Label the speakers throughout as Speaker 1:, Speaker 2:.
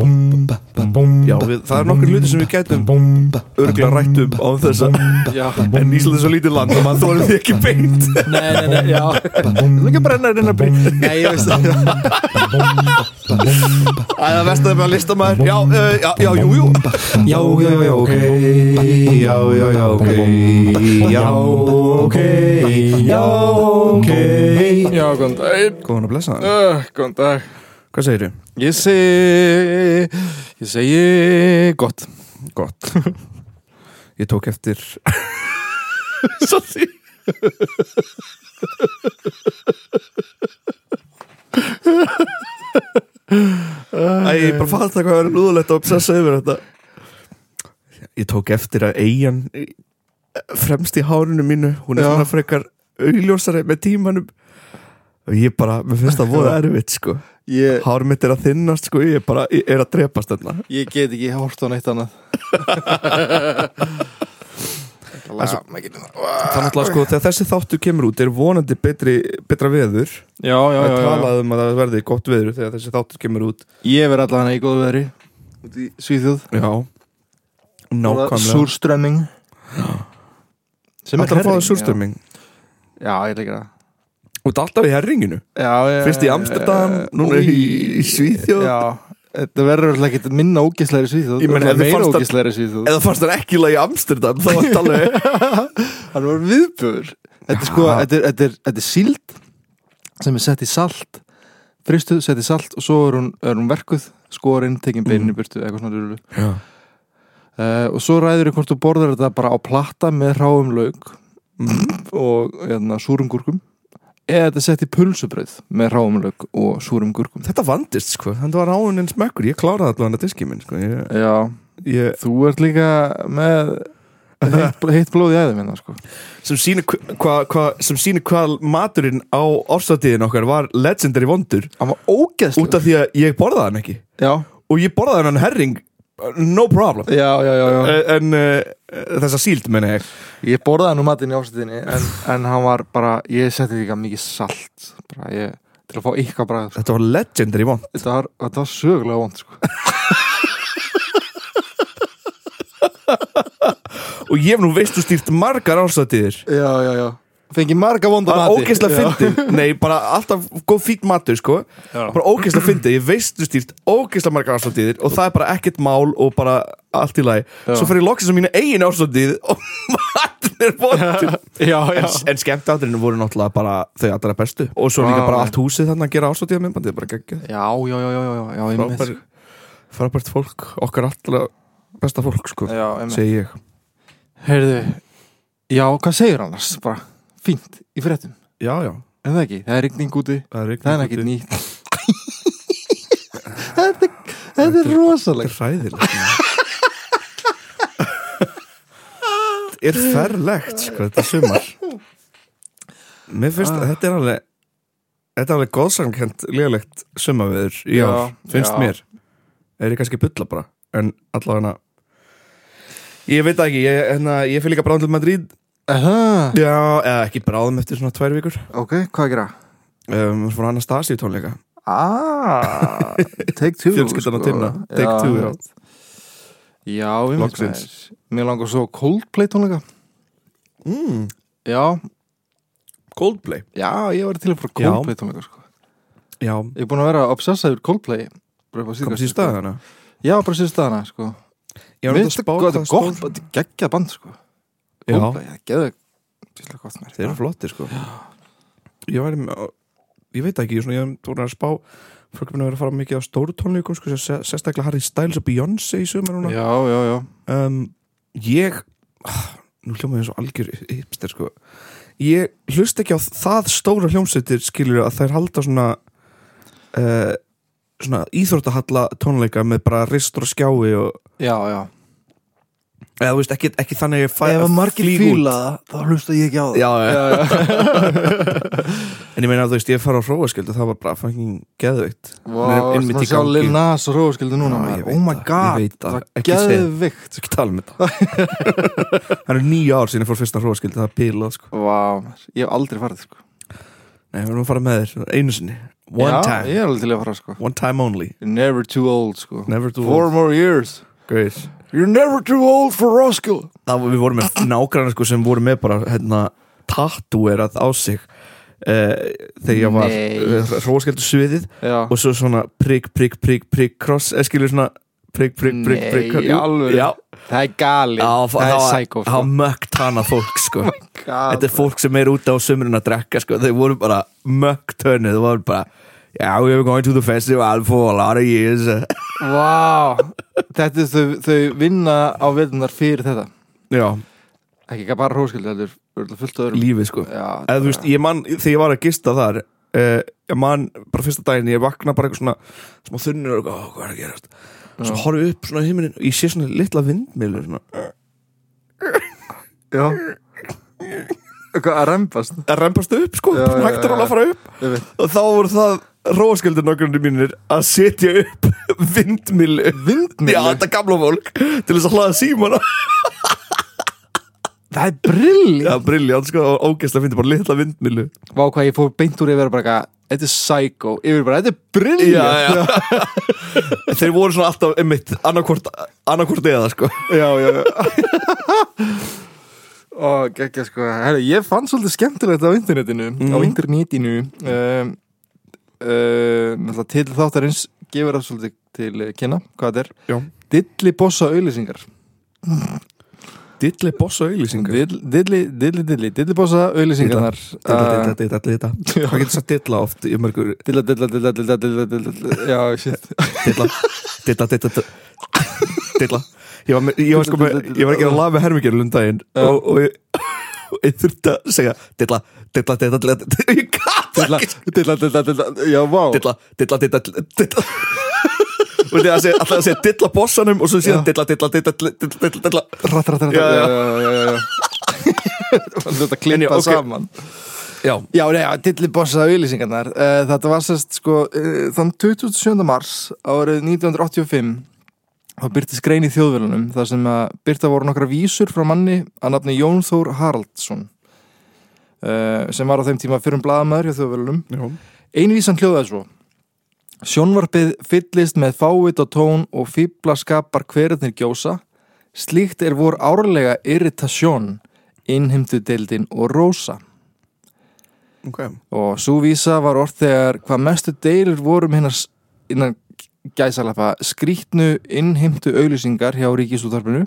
Speaker 1: Já, við, það er nokkur hluti sem við gætum örgla rættum á þess að
Speaker 2: Já. Mm,
Speaker 1: en Ísland er svo lítið land og maður þólir því ekki beint
Speaker 2: Nei, nei, nei, já
Speaker 1: það er ekki að brenna hérna þér inn að beint
Speaker 2: Nei, ég veist það
Speaker 1: Æ, það verst að við að lista maður Já, uh, já, já, jú, jú
Speaker 2: Já, já, já, ok Já, já, já, ok Já, ok Já, ok Já, góðan dag
Speaker 1: Góðan að blessa
Speaker 2: uh, Góðan dag
Speaker 1: Hvað segir þau?
Speaker 2: Ég segi Ég segi gott
Speaker 1: Gott Ég tók eftir
Speaker 2: Svo því
Speaker 1: Æ, ég bara fatt það hvað er lúðulegt að obsessa yfir þetta Ég tók eftir að eigin fremst í hárinu mínu hún er
Speaker 2: Já.
Speaker 1: svona frekar augljósari með tímanum og ég bara, mér finnst það voða erfitt sko
Speaker 2: Ég,
Speaker 1: hár mitt er að þinnast sko, ég bara ég er að drepast þarna
Speaker 2: ég get ekki hort á neitt annað
Speaker 1: Laga, Þannig að sko, þegar þessi þáttu kemur út er vonandi betri, betra veður
Speaker 2: Já, já,
Speaker 1: það
Speaker 2: já,
Speaker 1: er
Speaker 2: já.
Speaker 1: talað um að það verði gott veður þegar þessi þáttu kemur út
Speaker 2: Ég verð allavega í góðu veðri Út í Svíþjóð
Speaker 1: Já, nákvæmlega
Speaker 2: Súrströmming
Speaker 1: Ætlar
Speaker 2: Sem
Speaker 1: að fá það
Speaker 2: herring, já.
Speaker 1: súrstömming
Speaker 2: Já, ég leikir það
Speaker 1: Þú ert alltaf í herringinu
Speaker 2: já, já,
Speaker 1: Fyrst í
Speaker 2: já,
Speaker 1: Amsterdam,
Speaker 2: já, já.
Speaker 1: núna í-
Speaker 2: Új.
Speaker 1: í Svíþjóð.
Speaker 2: Já, þetta verður alltaf ekki minna ógæslega í Svíþjóð
Speaker 1: Ég meina,
Speaker 2: Það
Speaker 1: ef þið
Speaker 2: meira
Speaker 1: fannst að-
Speaker 2: ógæslega í Svíþjóð
Speaker 1: Eða fannst hann ekki í lagi Amsterdam þá var þetta alveg
Speaker 2: Hann var viðbjör Þetta er sko,
Speaker 1: Já.
Speaker 2: þetta er, þetta er, þetta er síld sem er sett í salt fristuð, sett í salt og svo er hún, er hún verkuð skorinn, tekin beinin í burtu eitthvað svona rúlu
Speaker 1: Já.
Speaker 2: uh, og svo ræður þér hvort þú borðar þetta bara á platta með ráum lauk Mm. og hérna, súrum gúrkum eða þetta er sett í pulsubröð með ráum lauk og súrum gúrkum
Speaker 1: Þetta vandist sko, þetta var áin eins mekkur Ég kláraði allan að diski minn sko Ég,
Speaker 2: Já,
Speaker 1: ég,
Speaker 2: Þú ert líka með heitt, heitt blóð í æðum hérna sko
Speaker 1: sem sýnir hva, hva- hva, sem sýnir hvað maturinn á ársatiðin okkar var legendary vondur
Speaker 2: Hann var ógeðslega
Speaker 1: út af því að ég borðaði hann ekki
Speaker 2: já.
Speaker 1: og ég borðaði hann herring no problem
Speaker 2: já, já, já, já
Speaker 1: Eh, en uh, þessa síld menna ég
Speaker 2: Ég borðaði nú matinn í ástættinni en, en hann var bara, ég setti líka mikið salt bara ég, til að fá ykkar bragð sko.
Speaker 1: þetta var legendary vond
Speaker 2: þetta, var, þetta var sögulega vond sko
Speaker 1: og ég hef nú veistu stýrt margar ársatiðir
Speaker 2: Já, já, já Fengi marga vonda
Speaker 1: bara
Speaker 2: mati
Speaker 1: ógeðslega
Speaker 2: Já.
Speaker 1: fyndið nei, bara alltaf góð fýtt matur sko
Speaker 2: Já.
Speaker 1: bara ógeðslega fyndið, ég veistu stýrt ógeðslega margar ársatiðir og það er bara ekkert mál og bara allt í lagi
Speaker 2: Já.
Speaker 1: svo fer ég loksins á mína eigin ársatið og maturinn er vondur
Speaker 2: Já, já
Speaker 1: En, en skemmtadrinu voru náttúrulega bara þau allra bestu Og svo líka
Speaker 2: Vá.
Speaker 1: bara allt húsið þannig að gera ástátíða myndbandið Bara geggja
Speaker 2: Já, já, já, já, já, já, ég með
Speaker 1: frábært, frábært fólk, okkar allra besta fólk sko
Speaker 2: Já, ég með
Speaker 1: Segi ég
Speaker 2: Heyrðu, já, hvað segir hann annars? Bara fínt í fréttum
Speaker 1: Já, já,
Speaker 2: En það ekki, það er rigning úti
Speaker 1: það er ekki
Speaker 2: Það er ekkert nýtt Þetta þetta er rosalega
Speaker 1: Ræðilegt Er ferlegt sko þetta sumar Mér finnst,
Speaker 2: Ah.
Speaker 1: þetta er alveg Þetta er alveg góðsangkent lélegt sumaveður í ár,
Speaker 2: Já,
Speaker 1: finnst
Speaker 2: já.
Speaker 1: mér Er ég kannski bulla bara En allavega Ég veit það ekki, ég, hérna, ég fyrir líka bráðum til Madrid
Speaker 2: Aha.
Speaker 1: Já, eða ekki bráðum eftir svona tvær vikur
Speaker 2: Ok, hvað að gera?
Speaker 1: um, Svona Anastasíu tónleika
Speaker 2: Ah, take two sko.
Speaker 1: Fjölskyldan að tinna, take two sko, já.
Speaker 2: Já, við mitt
Speaker 1: Loksins.
Speaker 2: maður Mér langar svo Coldplay tónleika
Speaker 1: mm,
Speaker 2: Já,
Speaker 1: Coldplay
Speaker 2: já, ég var til að fara á
Speaker 1: Já.
Speaker 2: Coldplay tónleika sko.
Speaker 1: Já,
Speaker 2: Ég er búin að vera obsessaður Coldplay bara upp á
Speaker 1: kom
Speaker 2: síðkastið,
Speaker 1: síðan staðana
Speaker 2: sko. Já, bara síðan staðana sko.
Speaker 1: Ég var neitt
Speaker 2: Mér
Speaker 1: að
Speaker 2: finnst
Speaker 1: spá
Speaker 2: þetta
Speaker 1: hvað
Speaker 2: gott,
Speaker 1: stóð
Speaker 2: gott, þetta er geggjað band sko.
Speaker 1: Já,
Speaker 2: Coldplay, það er geðveikt- Þetta er gott mér
Speaker 1: þeir eru flottir sko Ég væri með Ég veit ekki, ég, er svona, ég er búin að spá Fólk er búin að vera að fara mikið á stóru tónleikum sko, sér- Sérstaklega Harry Styles og Beyoncé í sumar núna
Speaker 2: Já, já, já
Speaker 1: um, Ég ah, Nú hljómaði eins og algjör hipster sko Ég hlust ekki á það stóra hljómsveitir skilur að þær halda svona uh, svona íþróttahalla tónleika með bara ristur og skjái og,
Speaker 2: Já, já
Speaker 1: eða þú veist ekki, ekki þannig að ég fæ
Speaker 2: Ef að margir
Speaker 1: flýg út.
Speaker 2: fíla það, þá hlusta ég ekki á það
Speaker 1: Já, já,
Speaker 2: já, já.
Speaker 1: En ég meina að þú veist, ég fara á hróaskildu það var bara fucking geðveikt
Speaker 2: Vá,
Speaker 1: Nei,
Speaker 2: wow,
Speaker 1: einmitt
Speaker 2: það
Speaker 1: í
Speaker 2: sjá
Speaker 1: gangi.
Speaker 2: Lil Nas og Róðskildi núna
Speaker 1: Já,
Speaker 2: maður.
Speaker 1: ég veit
Speaker 2: Oh my
Speaker 1: það,
Speaker 2: god,
Speaker 1: ég veit
Speaker 2: það
Speaker 1: það.
Speaker 2: var
Speaker 1: Ekki
Speaker 2: geðvikt
Speaker 1: Svo ekki tala um þetta Það eru nýja ár síðan ég fór fyrsta hróaskildu, það er pílað sko.
Speaker 2: Vá, maður, ég hef aldrei farið sko.
Speaker 1: Nei, við erum að fara með þér, einu sinni One
Speaker 2: Já,
Speaker 1: time,
Speaker 2: Ég er alveg til að fara sko
Speaker 1: one time only
Speaker 2: You're never too old sko
Speaker 1: Never do
Speaker 2: Four more years
Speaker 1: Great
Speaker 2: You're never too old for Roskilde
Speaker 1: það, var- Við vorum með nágrannar sko sem voru með bara hérna, tattúerað á sig uh, þegar ég var hróskjöldu sviðið
Speaker 2: Já
Speaker 1: og svo svona prigg, prigg, prigg, prigg cross, eða skilur svona prigg, prigg, prigg,
Speaker 2: Nei,
Speaker 1: prigg
Speaker 2: í alvöru?
Speaker 1: Já,
Speaker 2: Það er gali
Speaker 1: Já,
Speaker 2: Það er sko. sækó
Speaker 1: Það var mögt hana fólk sko Þetta
Speaker 2: sko
Speaker 1: er fólk sem er út á sömurinn að drekka sko. Þau voru bara mögt hönnu Þau voru bara Já, yeah, we're going to the festival for a lot of years
Speaker 2: Vá Þetta er þau, þau vinna á veðunar fyrir þetta
Speaker 1: Já,
Speaker 2: Ekki ekki bara Roskilde Þetta er örugglega fullt öðrum
Speaker 1: lífið sko
Speaker 2: Já,
Speaker 1: Eða þú veist, ég man, þegar ég var að gista þar uh, Ég man, bara fyrsta daginn Ég vakna bara eitthvað svona Smá þunnur og eitthvað, "Ó, hvað er að gerast Svo
Speaker 2: Já.
Speaker 1: horfi upp svona heiminin og ég sé svona litla vindmilu svona.
Speaker 2: Já Eitthvað að rempast
Speaker 1: Það rempast upp sko,
Speaker 2: Já,
Speaker 1: svona
Speaker 2: já,
Speaker 1: hægt
Speaker 2: já,
Speaker 1: er alveg að fara upp
Speaker 2: Ég veit
Speaker 1: Og þá voru það róskildur nokkurnu mínir Að setja upp vindmilu
Speaker 2: Vindmilu?
Speaker 1: Já, þetta gamla fólk Til þess að hlaða símana
Speaker 2: Það er brilli
Speaker 1: Já, brilljant, sko, og ógeðslega fyndi bara litla vindmilu
Speaker 2: Vá hvað ég fór beint úr yfir að bara eitthvað, Þetta er sækó Yfir bara, þetta er brilli
Speaker 1: já Þeir voru svona alltaf, einmitt, annarkvort, annarkvort eða, sko
Speaker 2: já, já, já. Og geggja sko, herri, ég fann svolítið skemmtilegt á internetinu, á internetinu um, uh, náttúrulega til þáttarins gefur það svolítið til eh, kynna, hvað þetta er
Speaker 1: Já
Speaker 2: Dilli bossa auðlýsingar
Speaker 1: Dilli bossa auðlýsingar
Speaker 2: Dill- Dilli, dilli, dilli, dilli bossa auðlýsingarnar
Speaker 1: Dilla, dilla,
Speaker 2: Uh,
Speaker 1: dilla, dilla Hvað getur þess að dilla oft í mörgur
Speaker 2: Dilla, dilla, dilla, dilla, dilla, dilla, dilla Já, shit
Speaker 1: Dilla, dilla, dilla, dilla Dilla Ég var, með, ég var, sko, með, ég var ekki að laga með hermingjölu um daginn og, og ég, og ég þurfti að segja Dilla, dilla, dilla, dilla dilla. Ég gata
Speaker 2: Dilla,
Speaker 1: ekki
Speaker 2: dilla, dilla, dilla Já, vá
Speaker 1: dilla, dilla, dilla, dilla, dilla og það er að segja, alltaf að segja dilla bossanum og svo síðan
Speaker 2: Já.
Speaker 1: dilla, dilla, dilla, dilla, dilla, dilla, dilla
Speaker 2: Ratt, ratt, ratt
Speaker 1: Já, já.
Speaker 2: Já, já, já, já Þetta
Speaker 1: En já,
Speaker 2: klippa
Speaker 1: ok.
Speaker 2: saman
Speaker 1: já,
Speaker 2: Já, nei, já, dilli bossa auðlýsingarnar uh, Þetta var sérst sko uh, þann 27. mars árið 1985 þá byrtist grein í þjóðvélunum þar sem að byrta voru nokkra vísur frá manni að nafni Jón Þór Haraldsson uh, sem var á þeim tíma fyrrum blaðamæður hjá þjóðvélunum
Speaker 1: já,
Speaker 2: Einvísan hljóðaði svo Sjónvarpið fyllist með fávit og tón og fýbla skapar hverjarnir gjósa Slíkt er vor árlega irritasjón innheimtu deildin og rósa
Speaker 1: ok
Speaker 2: og svo vísa var orð þegar hvað mestu deilur um vorum hinnar innan gæsalappa skrýtnu innheimtu auglýsingar hjá Ríkisúttarpinu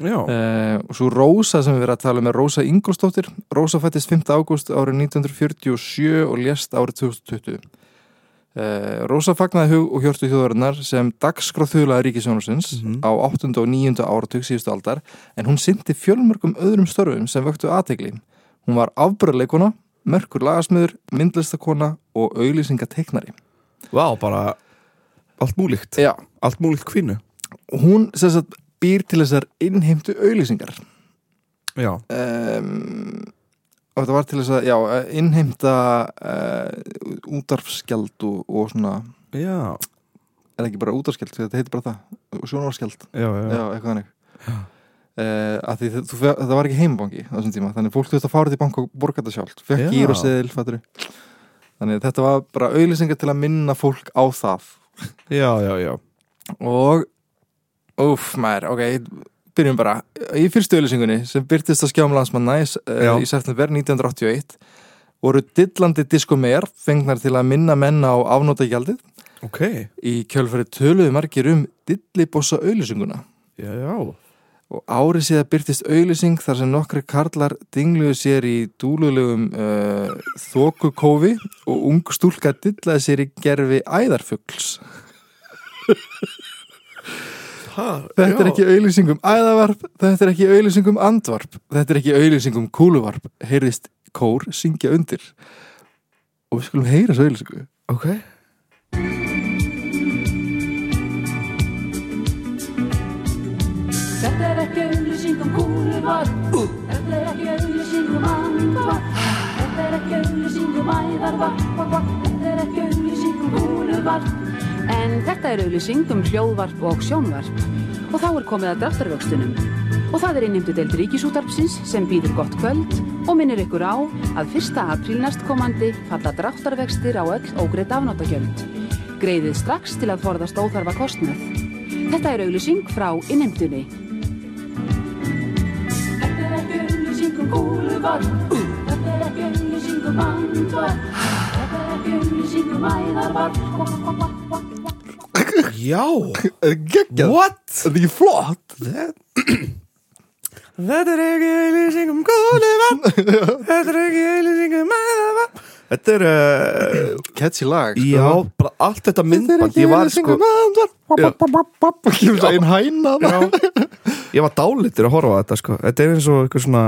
Speaker 1: já,
Speaker 2: uh, og svo Rósa sem við erum að tala með Rósa Ingolstóttir Rósa fættist 5. ágúst árið 1947 og lést árið 2020 uh, Eh, Rósa fagnaði hug og hjörtu þjóðarinnar sem dagskráþjóðlaði Ríkisjónusins
Speaker 1: Mhm.
Speaker 2: á 8. og 9. áratug síðustu aldar en hún syndi fjölmörgum öðrum störfum sem vöktu aðtegli hún var afbröðleikona, merkur lagasmiður myndlistakona og auglýsingateiknari
Speaker 1: vá, bara allt múlíkt,
Speaker 2: Já,
Speaker 1: allt múlíkt kvinnu
Speaker 2: hún sem sagt býr til þessar innheimtu auglýsingar
Speaker 1: já,
Speaker 2: um, og þetta var til þess að já, innheimta uh, útarfskjald og, og svona
Speaker 1: já,
Speaker 2: er það ekki bara útarfskjald, þetta heitir bara það sjónarskjald,
Speaker 1: já,
Speaker 2: já,
Speaker 1: já
Speaker 2: eitthvað þannig Uh, að því þe- þú, fe- þetta var ekki heimabangi á þessum tíma, þannig fólk þurfti að fara til bank og borga þetta sjálft, fekk
Speaker 1: Já.
Speaker 2: gýr og seðil fattur þannig að þetta var bara auðlýsingar til að minna fólk á það
Speaker 1: já, já, já,
Speaker 2: og uff maður, ok, byrjum bara í fyrstu auðlýsingunni sem byrtist á skjáum landsmanna í,
Speaker 1: Já.
Speaker 2: uh, í september 1981 voru dillandi diskomegar fengnar til að minna menna á afnótagjaldið
Speaker 1: ok
Speaker 2: í kjölfæri töluðu margir um dillibossa auðlýsinguna
Speaker 1: já, já,
Speaker 2: og árið síðan byrtist auðlýsing þar sem nokkri karlar dingluðu sér í dúlulegum uh, þokukófi og ung stúlka dillaði sér í gerfi æðarfugls
Speaker 1: ha,
Speaker 2: Þetta er
Speaker 1: já.
Speaker 2: ekki auðlýsing um æðavarp, þetta er ekki auðlýsing um andvarp, þetta er ekki auðlýsing um kúluvarp, heyrðist kór syngja undir. Og við skulum heyra þessu auðlýsingu.
Speaker 1: ok,
Speaker 3: Þetta er ekki auðlýsing um kúluvarp Þetta er ekki auðlýsing um andvarp Þetta er ekki auðlýsing um æðarvarp Þetta er ekki auðlýsing um kúluvarp
Speaker 4: En þetta er auðlýsing um hljóðvarp og sjónvarp og þá er komið að dráttarvöxtunum. og það er innimtu deild Ríkisútarpsins sem býður gott kvöld og minnir ykkur á að 1. apríl næstkomandi falla dráttarvextir á öll ógreitt afnáttakjöld. Greiðið strax til að forðast óþarfa kostnað. Þetta er auglýsing frá innimtunni.
Speaker 3: Þetta er ekki auðlýsingum búluvar Þetta er ekki auðlýsingum bandvar Þetta er ekki auðlýsingum æðarvar
Speaker 1: Já,
Speaker 2: Geggjað
Speaker 1: what?
Speaker 2: Þetta er ekki flott
Speaker 1: Þetta er ekki eilýsing um góðu vann Þetta er ekki eilýsing um aða vann Þetta er, uh,
Speaker 2: Catchy lag sko.
Speaker 1: já, bara allt þetta myndband Ég var
Speaker 2: um
Speaker 1: sko,
Speaker 2: Kjöfum það einn hæna það
Speaker 1: ég var dálitur að horfa á þetta sko Þetta er eins og eitthvað svona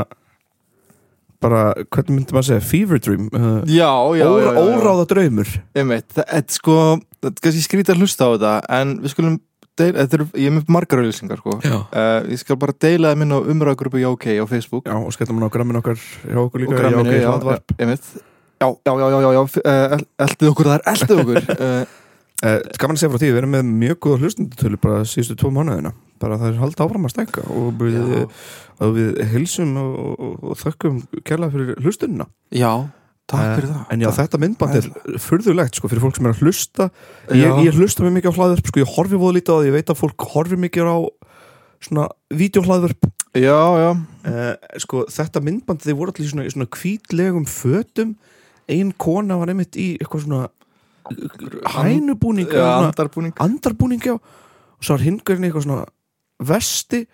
Speaker 1: bara, hvernig myndi maður segja, fever dream uh,
Speaker 2: Já, já, já,
Speaker 1: óra,
Speaker 2: já, já.
Speaker 1: óráða draumur
Speaker 2: Einmitt, það er sko það er kannski skrítið að hlusta á þetta en við skulum deil, er, ég er með margar auðlýsingar sko.
Speaker 1: Já.
Speaker 2: uh, ég skal bara deila þeim inn á umræðagrúpu JOK á Facebook
Speaker 1: Já, og skellum hann á grammin okkar hjá okkur líka
Speaker 2: og gramminu,
Speaker 1: ok, það
Speaker 2: já, já,
Speaker 1: var-
Speaker 2: einmitt já, já, já, já, já, já uh, eldið okkur þar, eldið okkur uh,
Speaker 1: Eh, gaman að segja frá því, við erum með mjög góða hlustundutölu bara síðustu tvo mánuðina bara það er halda áfram að stækka og við, eh,
Speaker 2: Já.
Speaker 1: og við hilsum og, og, og þökkum kærlega fyrir hlustunina
Speaker 2: já, takk
Speaker 1: Eh,
Speaker 2: fyrir það
Speaker 1: en já,
Speaker 2: það,
Speaker 1: þetta myndband er furðulegt sko, fyrir fólk sem er að hlusta
Speaker 2: Já.
Speaker 1: ég, ég hlusta mjög mikið á hlaðvörp, sko, ég horfi voða lítið á það ég veit að fólk horfi mikið á svona vídeohlaðvörp
Speaker 2: já, já,
Speaker 1: uh, sko, þetta myndband þið voru allir í svona, í svona hvítlegum fötum ein kona var einmitt í eitthvað svona hænubúning
Speaker 2: já,
Speaker 1: eða svona-
Speaker 2: andarbúning
Speaker 1: andarbúningi á og svo var hingurinn eitthvað svona vesti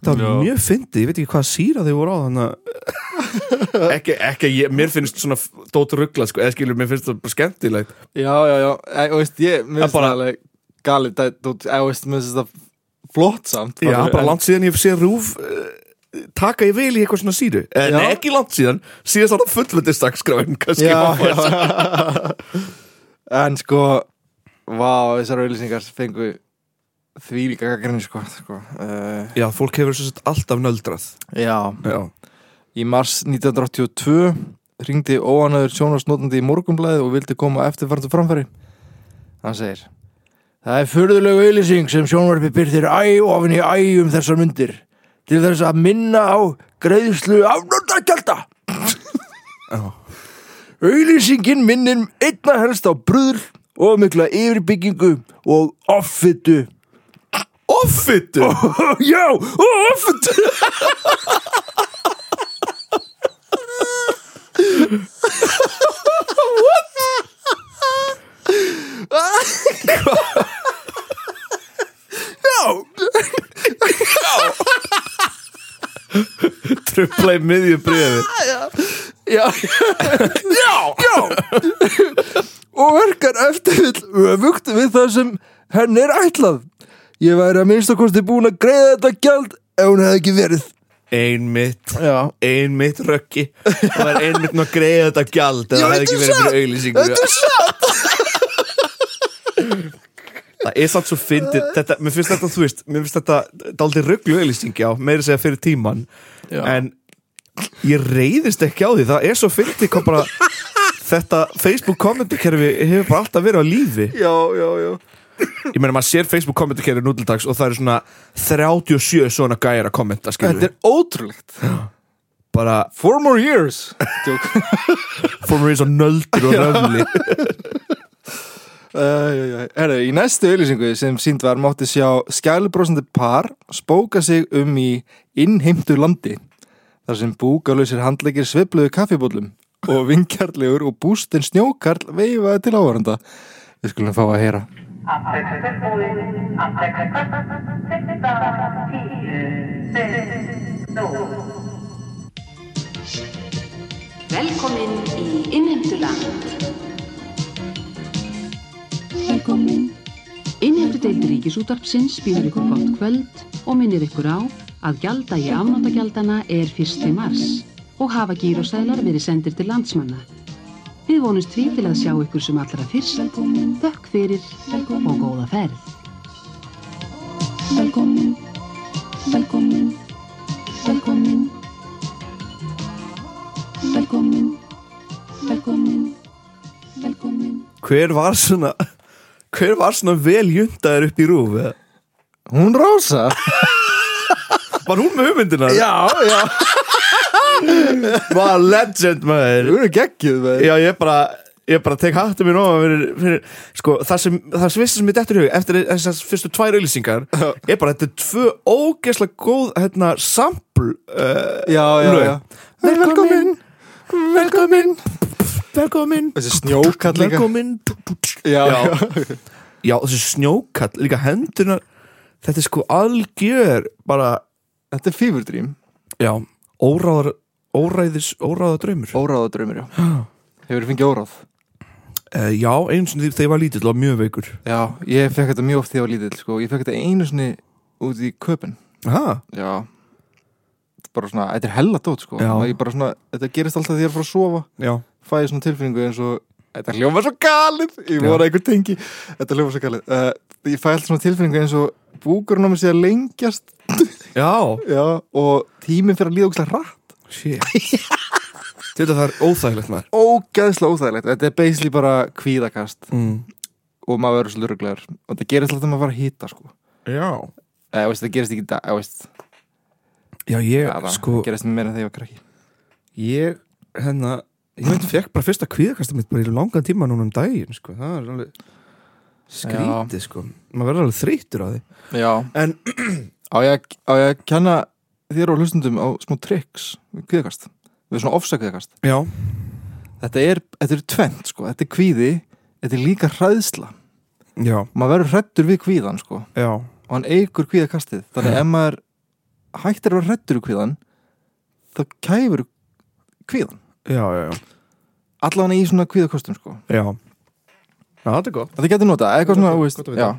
Speaker 1: þetta var
Speaker 2: Já.
Speaker 1: mjög fyndið, ég veit ekki hvað síra þau voru á þannig að ekki, ekki, ég, mér finnst svona dótt ruggla, sko, eða skilur, mér finnst það bara skemmtilegt
Speaker 2: já, já, já, e, og veist, ég mér
Speaker 1: Það
Speaker 2: finnst
Speaker 1: bara-
Speaker 2: það alveg galið það- þú- eða, veist, mér finnst það flott samt
Speaker 1: já, bara
Speaker 2: en-
Speaker 1: langt síðan ég sé rúf uh, taka ég vel í eitthvað svona síru
Speaker 2: Já.
Speaker 1: en ekki langt síðan, síðast var það fullvöldistakskráin kannski
Speaker 2: já,
Speaker 1: má fara að segja.
Speaker 2: já. en sko vá, þessar auðlýsingar fengu því líka gaggrinni sko, sko. Uh,
Speaker 1: já, fólk hefur svo sett alltaf nöldrað
Speaker 2: já,
Speaker 1: já,
Speaker 2: í mars 1982 ringdi óanöður sjónarsnótandi í morgumblæði og vildi koma eftirfarndu framfæri hann segir Það er furðulegu auðlýsing sem sjónvarpi byrðir æ ofin í æ um þessar myndir til þess að minna á greiðslu afnóttakjölda
Speaker 1: já,
Speaker 2: Auðlýsingin minnir einna helst á bröður og mikla yfirbyggingu og offitu.
Speaker 1: offitu
Speaker 2: Já, og offitu!
Speaker 1: trubla í miðju bríði
Speaker 2: Já, já, já! og verkar eftir vill öfugt við það sem henni er ætlað. Ég væri að minnstakosti búin að greiða þetta gjald ef hún hefði ekki verið.
Speaker 1: einmitt
Speaker 2: Já.
Speaker 1: einmitt rökki og er einmitt nú að greiða þetta gjald eða
Speaker 2: Já,
Speaker 1: það hefði
Speaker 2: þetta
Speaker 1: ekki
Speaker 2: er
Speaker 1: verið
Speaker 2: satt.
Speaker 1: fyrir auglýsingu
Speaker 2: Þetta er satt!
Speaker 1: það er samt svo fyndið þetta, mér finnst þetta, þú veist, mér finnst þetta daldi rugglu auglýsingi á, meira að segja fyrir tíman
Speaker 2: Já.
Speaker 1: en ég reyðist ekki á því, það er svo fyndið hvað bara þetta Facebook kommentarkerfi hefur bara alltaf verið á lífi
Speaker 2: Já, já, já.
Speaker 1: ég meina maður sér Facebook kommentarkerfi nútildags og það eru svona 37 svona gæjar að kommenta skilur
Speaker 2: Þetta er ótrúlegt.
Speaker 1: bara
Speaker 2: Four more years. Jók.
Speaker 1: fórum við eins og nöldur og röfli
Speaker 2: Herru, í næstu auðlýsingu sem sínd var mátti sjá skjælubrósandi par spóka sig um í innheimtu landi þar sem búkalösir handleikir sveifluðu kaffibóllum og vingjarlegur og bústinn snjókarl veifaði til áhverjanda Við skulum fá að heyra
Speaker 4: Velkomin í innheimtuland.
Speaker 3: Velkomin
Speaker 4: Innheimtu deild Ríkisútarpsins býður ykkur gott kvöld og minnir ykkur á að gjaldagi afnóttagjaldana er 1. mars og hafa gírosælar verið sendir til landsmanna. Við vonumst því til að sjá ykkur sem allra fyrst, þökk fyrir og góða ferð.
Speaker 3: Velkomin Velkomin Velkomin Velkomin Velkomin Velkomin
Speaker 1: hver var svona hver var svona veljundaður upp í rúf eða?
Speaker 2: Hún Rósa
Speaker 1: Var hún með hugmyndina?
Speaker 2: Já, já
Speaker 1: Var legend maður
Speaker 2: Þú eru geggjuð með
Speaker 1: Já, ég bara, ég bara tek hattu mér ofan fyrir, fyrir sko, það sem, það sem vissi sem ég dettur í hug eftir þessar fyrstu tvær auðlýsingar er bara, þetta er tvö ógeðslega góð hérna, sample uh,
Speaker 2: Já, já,
Speaker 1: lög.
Speaker 2: já
Speaker 1: Velkomin, velkomin Velkomin
Speaker 2: Þessi snjókall líka.
Speaker 1: Velkomin
Speaker 2: Já, já.
Speaker 1: Já, þessi snjókall, líka hendunar Þetta er sko algjör bara,
Speaker 2: Þetta er fívurdrým
Speaker 1: já, óráðar óræðis, óráða draumur
Speaker 2: Óráða draumur, já Hefur fengið óráð
Speaker 1: uh, Já, eins og þegar ég var lítill og mjög veikur
Speaker 2: Já, ég fekk þetta mjög oft þegar ég var lítill sko. Ég fekk þetta einu sinni út í köpun
Speaker 1: Aha.
Speaker 2: Já Bara svona, þetta er hella dót sko
Speaker 1: Já.
Speaker 2: Og ég bara svona, Þetta gerist alltaf þegar ég er frá að sofa
Speaker 1: Já,
Speaker 2: Fæ ég svona tilfinningu eins og Þetta hljóma svo galið Ég voru einhver tengi Þetta hljóma svo galið uh, Ég fæ alltaf svona tilfinningu eins og Búkurinn á mig sé að lengjast
Speaker 1: já,
Speaker 2: Já, og tíminn fyrir að líða ógæslega hratt
Speaker 1: shit Þetta það er óþægilegt maður
Speaker 2: Ógæslega óþægilegt, þetta er basically bara kvíðakast
Speaker 1: mm.
Speaker 2: og maður verður svolítið röglegar og þetta gerist alltaf þegar maður var að hýta sko
Speaker 1: Já
Speaker 2: eða veist, þetta gerist ekki í dag, eða veist
Speaker 1: Já, ég,
Speaker 2: það
Speaker 1: sko,
Speaker 2: gerist meira þegar ég var krakki
Speaker 1: ég, hérna Ég veit, fekk bara fyrsta kvíðakasta mitt bara í langan tíma núna um daginn, sko Það er alveg skrítið, sko Maður verður alveg þreyttur á því
Speaker 2: Já,
Speaker 1: En,
Speaker 2: á ég, á ég að kenna þér og hlustundum á smá tricks við kvíðakast, við svona ofsa kvíðakast
Speaker 1: já,
Speaker 2: þetta er, þetta er tvent sko, þetta er kvíði þetta er líka hræðsla
Speaker 1: já,
Speaker 2: maður verður hrættur við kvíðan sko
Speaker 1: já
Speaker 2: og hann eigur kvíðakastið þannig að ef maður hættir að rættur úr kvíðan þá kæfur kvíðan
Speaker 1: Já, já, já,
Speaker 2: allan í svona kvíðakostum sko
Speaker 1: já Já, þetta er gott
Speaker 2: þetta getur nota, eitthvað svona
Speaker 1: Gott að-
Speaker 2: þú veist,
Speaker 1: gott að vita.
Speaker 2: já,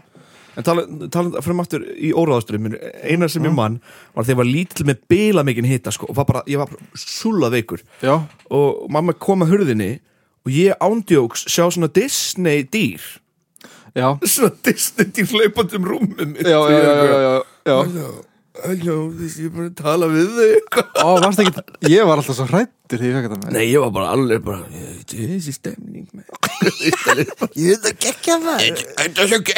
Speaker 1: En tala, tala fyrir aftur í óráðaströmmin Einar sem ég mann var þegar ég var lítill með bila mikinn hita, sko Og var bara, ég var bara súlað veikur
Speaker 2: já,
Speaker 1: og mamma kom að hurðinni og ég ándjóks sjá svona Disney dýr
Speaker 2: já
Speaker 1: svona Disney dýr leipandi um rúmum mitt
Speaker 2: já, já, já, já, já, já.
Speaker 1: Hello, this ég er bara að tala við þig
Speaker 2: Ó, varstu ekki, ég var alltaf svo hrættur þegar ég fekk þetta með
Speaker 1: Nei, ég var bara alveg bara "Ég- Þessi stemning man." Ég veit að gekka það Þetta er svo gekka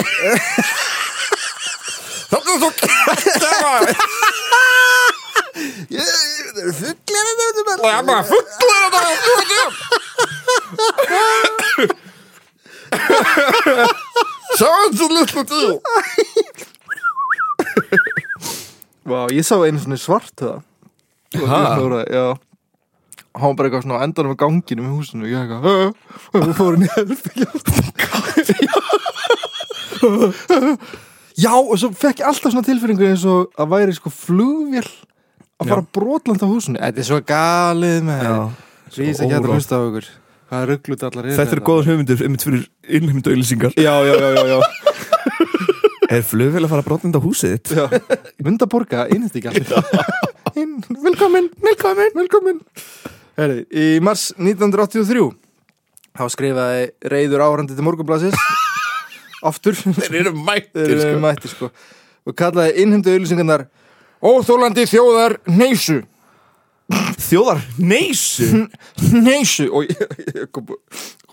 Speaker 1: Þetta er svo gekka
Speaker 2: það eru fugglar þetta veitum
Speaker 1: Það er bara fugglar að það Sjáðu þú litla dýr
Speaker 2: Vá, ég sá einu svona svart
Speaker 1: Ha?
Speaker 2: það já hann var bara eitthvað svona á endanum á ganginum í húsinu ég eitthvað, "Hö, hö", og fór hann í helfing já, og svo fekk ég alltaf svona tilfinningu eins og að væri sko flugvél að fara brotland á húsinu þetta er svo galið með
Speaker 1: Já.
Speaker 2: Svo Lýsa ekki hægt að
Speaker 1: óráð.
Speaker 2: hlusta á ykkur Hvaða rugglut allar er
Speaker 1: Þetta eru góðar hugmyndir einmitt fyrir innlýmd auðlýsingar
Speaker 2: Já, já, já, já, já.
Speaker 1: Er flugvél að fara að brotnenda húsið þitt?
Speaker 2: já. Mynda borga, innist ekki allir Inn, Velkomin, velkomin, velkomin Heri, Í mars 1983 Þá skrifaði reyður árandi til morgunblasins Aftur Þeir
Speaker 1: eru mættir
Speaker 2: eru mætti sko Og kallaði innheimdu auðlýsingarnar Óþólandi þjóðar neysu
Speaker 1: Þjóðar, neysu
Speaker 2: Neysu Og ég, ég kom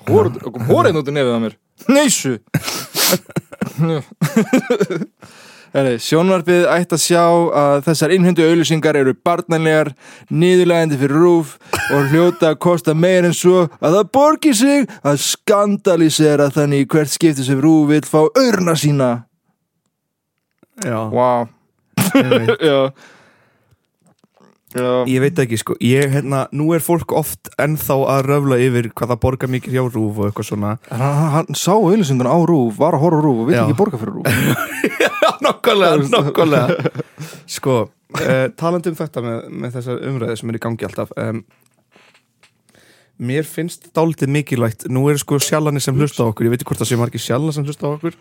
Speaker 2: Hóra, kom hóraðin út í nefið að mér Neysu Heri, Sjónvarpið ætti að sjá að þessar innhendu auðlýsingar eru barnanlegar niðurlægandi fyrir rúf og hljóta að kosta meir en svo að það borgi sig að skandalisera þannig í hvert skipti sem rúf vill fá örna sína
Speaker 1: Já,
Speaker 2: Vá
Speaker 1: einmitt.
Speaker 2: Já Já
Speaker 1: ég veit ekki sko ég, hérna, Nú er fólk oft ennþá að röfla yfir hvað það borga mikið hjá rúf og eitthvað svona
Speaker 2: Hann, hann sá auðlýsinguna á rúf, var að horfa á rúf og vill
Speaker 1: Já.
Speaker 2: ekki borga fyrir rúf
Speaker 1: Nokkulega, nokkulega Sko, uh, talandi um þetta með, með þessar umræði sem er í gangi alltaf um, Mér finnst dálítið mikilvægt Nú eru sko sjallanir sem hlusta á okkur Ég veit ekki hvort það sé margir sjallar sem hlusta á okkur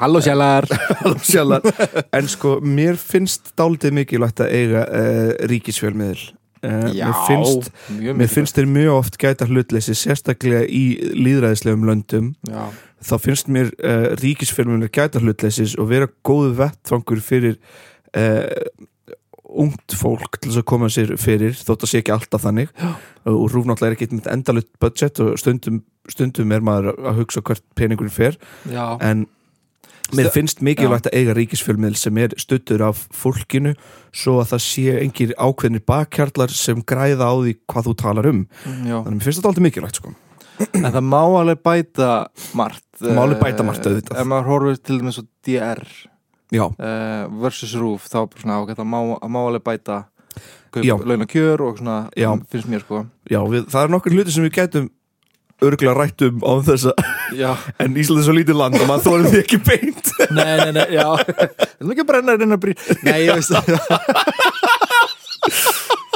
Speaker 2: Halló sjælar
Speaker 1: sjálfar En sko, mér finnst dálítið mikilvægt að eiga uh, ríkisfjölmiðil uh,
Speaker 2: Já,
Speaker 1: Mér finnst,
Speaker 2: mjög
Speaker 1: mér finnst þeir mjög oft gæta hlutleysi sérstaklega í líðræðislegum löndum
Speaker 2: Já,
Speaker 1: þá finnst mér uh, ríkisfjölmiðlir gæta hlutleysis og vera góðu vettfangur fyrir uh, ungt fólk til þess að koma sér fyrir þótt að sé ekki alltaf þannig Já. og rúfnáttlega er ekki eitt endalut budget og stundum, stundum er maður að hugsa hvert peningurinn fer
Speaker 2: já
Speaker 1: en Mér finnst mikilvægt að eiga ríkisfjölmiðl sem er stuttur af fólkinu svo að það sé engir ákveðnir bakkjarlar sem græða á því hvað þú talar um
Speaker 2: Já.
Speaker 1: Þannig mér finnst þetta aldrei mikilvægt sko
Speaker 2: en það má alveg bæta margt
Speaker 1: Það má alveg
Speaker 2: eh,
Speaker 1: bæta margt, auðvitað.
Speaker 2: ef maður horfir til dæmis á DR
Speaker 1: Já,
Speaker 2: uh, versus RÚF þá er bara svona ágætt að má, að má alveg bæta
Speaker 1: Já.
Speaker 2: launa kjör og svona
Speaker 1: Já.
Speaker 2: finnst mér sko
Speaker 1: já við, það er nokkur hluti sem við gætum örgulega rætt um á þessa
Speaker 2: já,
Speaker 1: en Ísland er svo lítið land og maður þórir því ekki beint
Speaker 2: nei, nei, nei, já við erum ekki að brenna reyna að brýna nei, ég veist það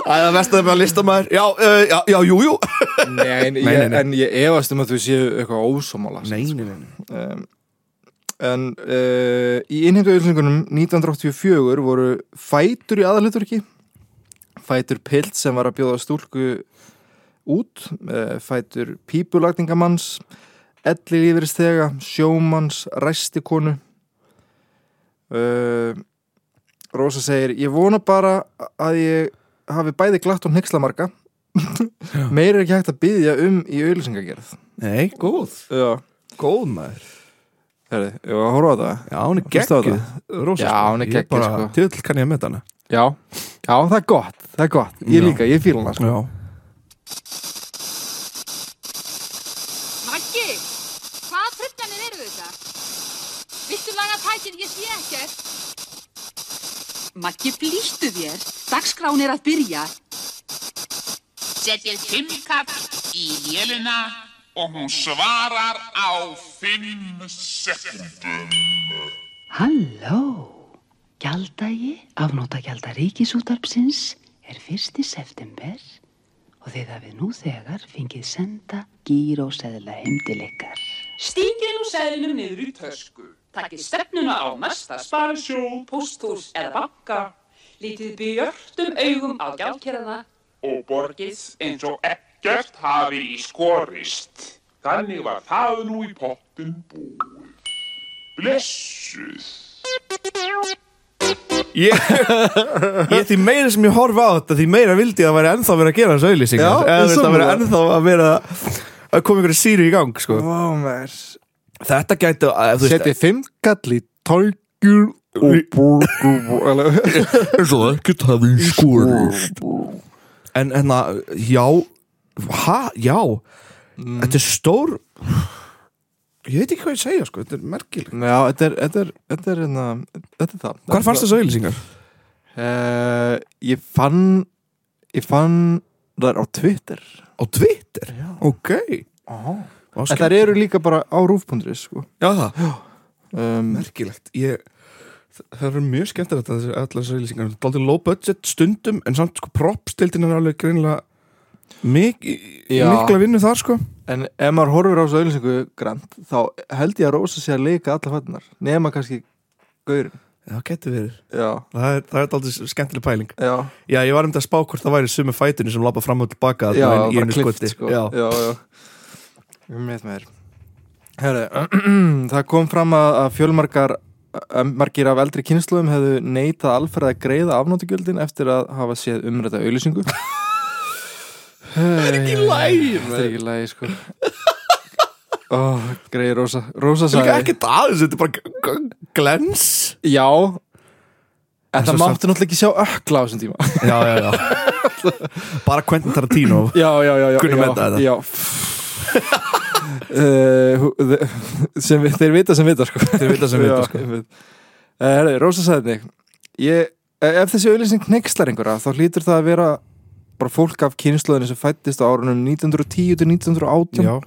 Speaker 1: Það er mest að með að lista maður Já, uh, já, já, jú, jú
Speaker 2: nei, en,
Speaker 1: Nei, nei,
Speaker 2: ég,
Speaker 1: nei.
Speaker 2: en ég efast um að þú séu eitthvað ósámála
Speaker 1: Nei, nei, nei
Speaker 2: um, en uh, í innheimtu auðlýsingunum 1984 voru fætur í aðalutverki fætur pilt sem var að bjóða stúlku út uh, fætur pípulagningamanns elli lífyristega, sjómanns ræstikonu uh, Rósa segir ég vona bara að ég hafi bæði glatt og hnygslamarka meir er ekki hægt að byðja um í auðlýsingagerð
Speaker 1: Nei, góð
Speaker 2: Já,
Speaker 1: Góð maður
Speaker 2: herri, ég var að horfa á það
Speaker 1: Já, hún er
Speaker 2: Hlustaðu á
Speaker 1: geggjuð Rósa,
Speaker 2: Já,
Speaker 1: sko.
Speaker 2: hún er
Speaker 1: Ég
Speaker 2: geggjuð,
Speaker 1: bara,
Speaker 2: sko.
Speaker 1: Tjöðl kann ég að metta hana
Speaker 2: Já, já, það er gott, það er gott Ég
Speaker 1: Já.
Speaker 2: líka, ég fíla hana sko.
Speaker 1: Já
Speaker 5: Maggi, hvað trullanir eru þetta? Viltu laga tækið, ég sé ekkert.
Speaker 4: Maggi, flýttu þér. Dagskrán er að byrja.
Speaker 6: setjið fimmkall í vélina og hún svarar á fimm sekundum.
Speaker 4: Halló! Gjaldagi, afnótagjalda ríkisútarpsins er 1. september og þið hafið nú þegar fengið senda gíróseðla heim til ykkar.
Speaker 7: Stíkið nú seðlum niður í tösku. Takkið stefnuna á næsta sparisjóð, pósthús eða banka. Lítið björtum augum á gjaldkerðana.
Speaker 6: Og borgið eins og ekkert hafi í skorist. Þannig var það nú í pottin búið. Blessuð.
Speaker 1: Ég, ég því meira sem ég horfa á þetta því meira vildi ég að vera ennþá verið að gera þessu auðlýsingar
Speaker 2: Já,
Speaker 1: eða
Speaker 2: ég
Speaker 1: þetta
Speaker 2: sammála.
Speaker 1: verið ennþá að vera að koma einhverju síri í gang sko.
Speaker 2: Vá, maður
Speaker 1: Þetta gæti að þú
Speaker 2: Setjið fimm kall í tækjur og borgur
Speaker 1: eins og ekkert hafi skorist En hérna, já ha, já Þetta er stór Ég veit ekki hvað ég segja sko, þetta er merkileg
Speaker 2: Já, þetta er, þetta er, þetta er, hérna, þetta er það
Speaker 1: Hvar fannst þessu auðlýsingar?
Speaker 2: Uh, ég fann, ég fann það á Twitter
Speaker 1: Á Twitter? Já. Ok Vá,
Speaker 2: En það eru líka bara á rúf.is sko
Speaker 1: Já það,
Speaker 2: um,
Speaker 1: merkilegt ég, þa- Það eru mjög skemmtilegt að þessi allar þessi lýsingar Daldið low budget stundum En samt sko propstildin er alveg greinilega mik
Speaker 2: Já.
Speaker 1: Mikla vinnu þar sko
Speaker 2: En ef maður horfir á þessu auðlýsingu grant þá held ég að Rósa sé að leika alla fætunar nema kannski gaurin
Speaker 1: Já, getur verið
Speaker 2: Já,
Speaker 1: Það er, það er daldið skemmtileg pæling
Speaker 2: já,
Speaker 1: Já, ég var um þetta að spá hvort það væri sumu fætinu sem lappa fram og tilbaka
Speaker 2: já,
Speaker 1: þarna í
Speaker 2: bara
Speaker 1: einu
Speaker 2: klift
Speaker 1: skoti.
Speaker 2: sko
Speaker 1: Já.
Speaker 2: já, já. með mér Herri, það kom fram að, að fjölmargar að margir af eldri kynsluðum hefðu neitað alferð að greiða afnóttugjöldin eftir að hafa séð umræta auðlýsingu Það er ekki læg Það er ekki læg sko Ó, greiði Rósa
Speaker 1: Það er
Speaker 2: Rósa
Speaker 1: líka
Speaker 2: sagði
Speaker 1: ekkert aðeins, þetta er bara g- g- glens
Speaker 2: Já
Speaker 1: svo
Speaker 2: En það máttu náttúrulega ekki sjá ökla á þessum tíma
Speaker 1: Já, já, já Bara Quentin Tarantino
Speaker 2: Já, já, já, já
Speaker 1: Kunum
Speaker 2: já,
Speaker 1: þetta, þetta.
Speaker 2: Já Uh, hú- þe- sem, vi- þeir vita sem vita sko
Speaker 1: Þeir vita sem vita,
Speaker 2: Já,
Speaker 1: sko.
Speaker 2: einmitt. Eh, herri, Rósa sagði þig ég, eh, ef þessi auðlýsing nexlar einhverja þá hlýtur það að vera bara fólk af kynnslóðinu sem fættist á árunum 1910 til 1918
Speaker 1: Já,